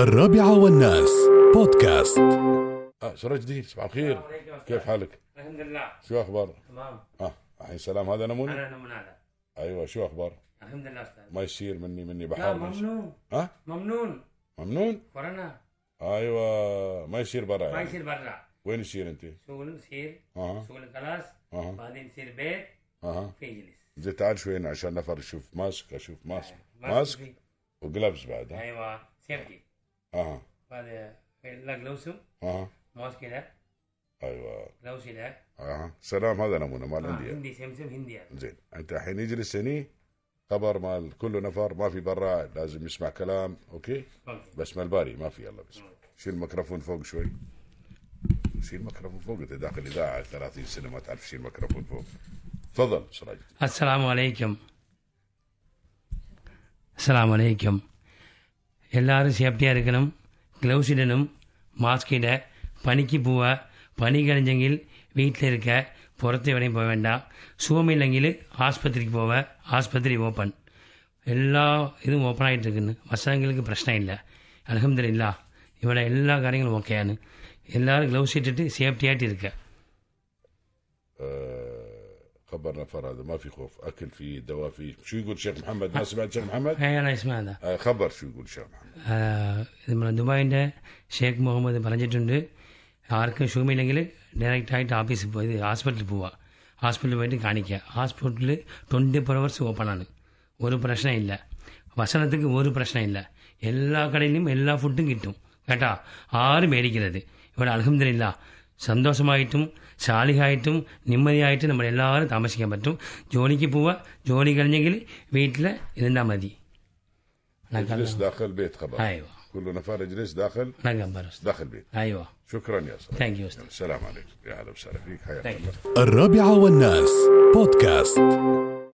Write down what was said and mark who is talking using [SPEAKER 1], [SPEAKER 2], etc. [SPEAKER 1] الرابعة والناس بودكاست
[SPEAKER 2] اه سراج دين صباح الخير كيف حالك؟
[SPEAKER 3] الحمد لله
[SPEAKER 2] شو اخبارك؟
[SPEAKER 3] تمام
[SPEAKER 2] اه الحين سلام هذا نموني؟
[SPEAKER 3] انا هنا من هذا
[SPEAKER 2] ايوه شو اخبارك؟
[SPEAKER 3] الحمد لله استاذ
[SPEAKER 2] ما يصير مني مني
[SPEAKER 3] لا
[SPEAKER 2] بحار مني.
[SPEAKER 3] ممنون
[SPEAKER 2] ها
[SPEAKER 3] ممنون
[SPEAKER 2] ممنون؟
[SPEAKER 3] كورونا
[SPEAKER 2] ايوه ما يصير برا
[SPEAKER 3] ما
[SPEAKER 2] يعني.
[SPEAKER 3] يصير برا
[SPEAKER 2] وين يصير آه، انت؟
[SPEAKER 3] شغل مسير
[SPEAKER 2] اها
[SPEAKER 3] شغل كلاس
[SPEAKER 2] اها
[SPEAKER 3] بعدين يصير بيت
[SPEAKER 2] اها
[SPEAKER 3] في يجلس
[SPEAKER 2] آه، زي تعال شوي هنا عشان نفر يشوف ماسك اشوف ماسك
[SPEAKER 3] ماسك
[SPEAKER 2] ماسك
[SPEAKER 3] آه.
[SPEAKER 2] آه.
[SPEAKER 3] في-
[SPEAKER 2] وجلافز بعد ها آه،
[SPEAKER 3] ايوه سيفتي
[SPEAKER 2] اها
[SPEAKER 3] بعد لا جلوسهم
[SPEAKER 2] اها
[SPEAKER 3] ماسك كده
[SPEAKER 2] ايوه
[SPEAKER 3] جلوس كده
[SPEAKER 2] اها آه. سلام هذا نمونه مال هندي
[SPEAKER 3] آه. هندي سمسم هندي يعني.
[SPEAKER 2] زين انت الحين يجلس هني خبر مال كل نفر ما في برا لازم يسمع كلام اوكي؟
[SPEAKER 3] أوكي.
[SPEAKER 2] بس ما الباري ما في يلا بس شيل الميكروفون فوق شوي شيل الميكروفون فوق انت داخل اذاعه 30 سنه ما تعرف شيل الميكروفون فوق تفضل سراج
[SPEAKER 3] السلام عليكم السلام عليكم எல்லாரும் சேஃப்டியாக இருக்கணும் க்ளவுஸ் இடணும் மாஸ்க் இட பனிக்கு போவ பனி கலைஞ்சங்கில் வீட்டில் இருக்க புறத்து வரையும் போக வேண்டாம் சுகம் இல்லைங்கில் ஆஸ்பத்திரிக்கு போவ ஆஸ்பத்திரி ஓப்பன் எல்லா இதுவும் ஓப்பன் ஆகிட்டு இருக்குன்னு வசதங்களுக்கு பிரச்சனை இல்லை அலமதுல்லா இவ்வளோ எல்லா காரியங்களும் ஓகேயானு எல்லாரும் க்ளவுஸ் இட்டுட்டு சேஃப்டியாகிட்டு இருக்க
[SPEAKER 2] آه خبرنا فرادة ما في خوف اكل في دواء في شو يقول شيخ محمد ما سمعت شيخ محمد
[SPEAKER 3] ஏன்னா இஸ்மா தான்
[SPEAKER 2] آه خبر شو يقول شيخ محمد
[SPEAKER 3] ആഹ് നമ്മുടെ ദുബായിൻ്റെ ഷേഖ് മുഹമ്മദ് പറഞ്ഞിട്ടുണ്ട് ആർക്കും സുഖമില്ലെങ്കിൽ ഡയറക്റ്റായിട്ട് ഓഫീസിൽ പോയി ഹോസ്പിറ്റലിൽ പോവുക ഹോസ്പിറ്റലിൽ പോയിട്ട് കാണിക്കുക ഹോസ്പിറ്റലിൽ ട്വൻറ്റി ഫോർ ഹവേഴ്സ് ഓപ്പണാണ് ഒരു പ്രശ്നമില്ല ഭക്ഷണത്തിക്ക് ഒരു പ്രശ്നമില്ല എല്ലാ കടയിലും എല്ലാ ഫുഡും കിട്ടും കേട്ടാ ആരും മേടിക്കരുത് ഇവിടെ അലഹമില്ല സന്തോഷമായിട്ടും ശാലിഹായിട്ടും നിമ്മതിയായിട്ടും നമ്മൾ എല്ലാവരും താമസിക്കാൻ പറ്റും ജോലിക്ക് പോവുക ജോലി കഴിഞ്ഞെങ്കിൽ വീട്ടിൽ ഇരുന്നാൽ മതി
[SPEAKER 2] اجلس داخل بيت خبر
[SPEAKER 3] ايوه
[SPEAKER 2] كل نفر اجلس داخل
[SPEAKER 3] رقم برس
[SPEAKER 2] داخل بيت
[SPEAKER 3] ايوه
[SPEAKER 2] شكرا يا سراج
[SPEAKER 3] ثانك يو
[SPEAKER 2] السلام عليكم يا اهلا وسهلا فيك حياك
[SPEAKER 3] Thank you.
[SPEAKER 2] الله
[SPEAKER 1] الرابعة والناس بودكاست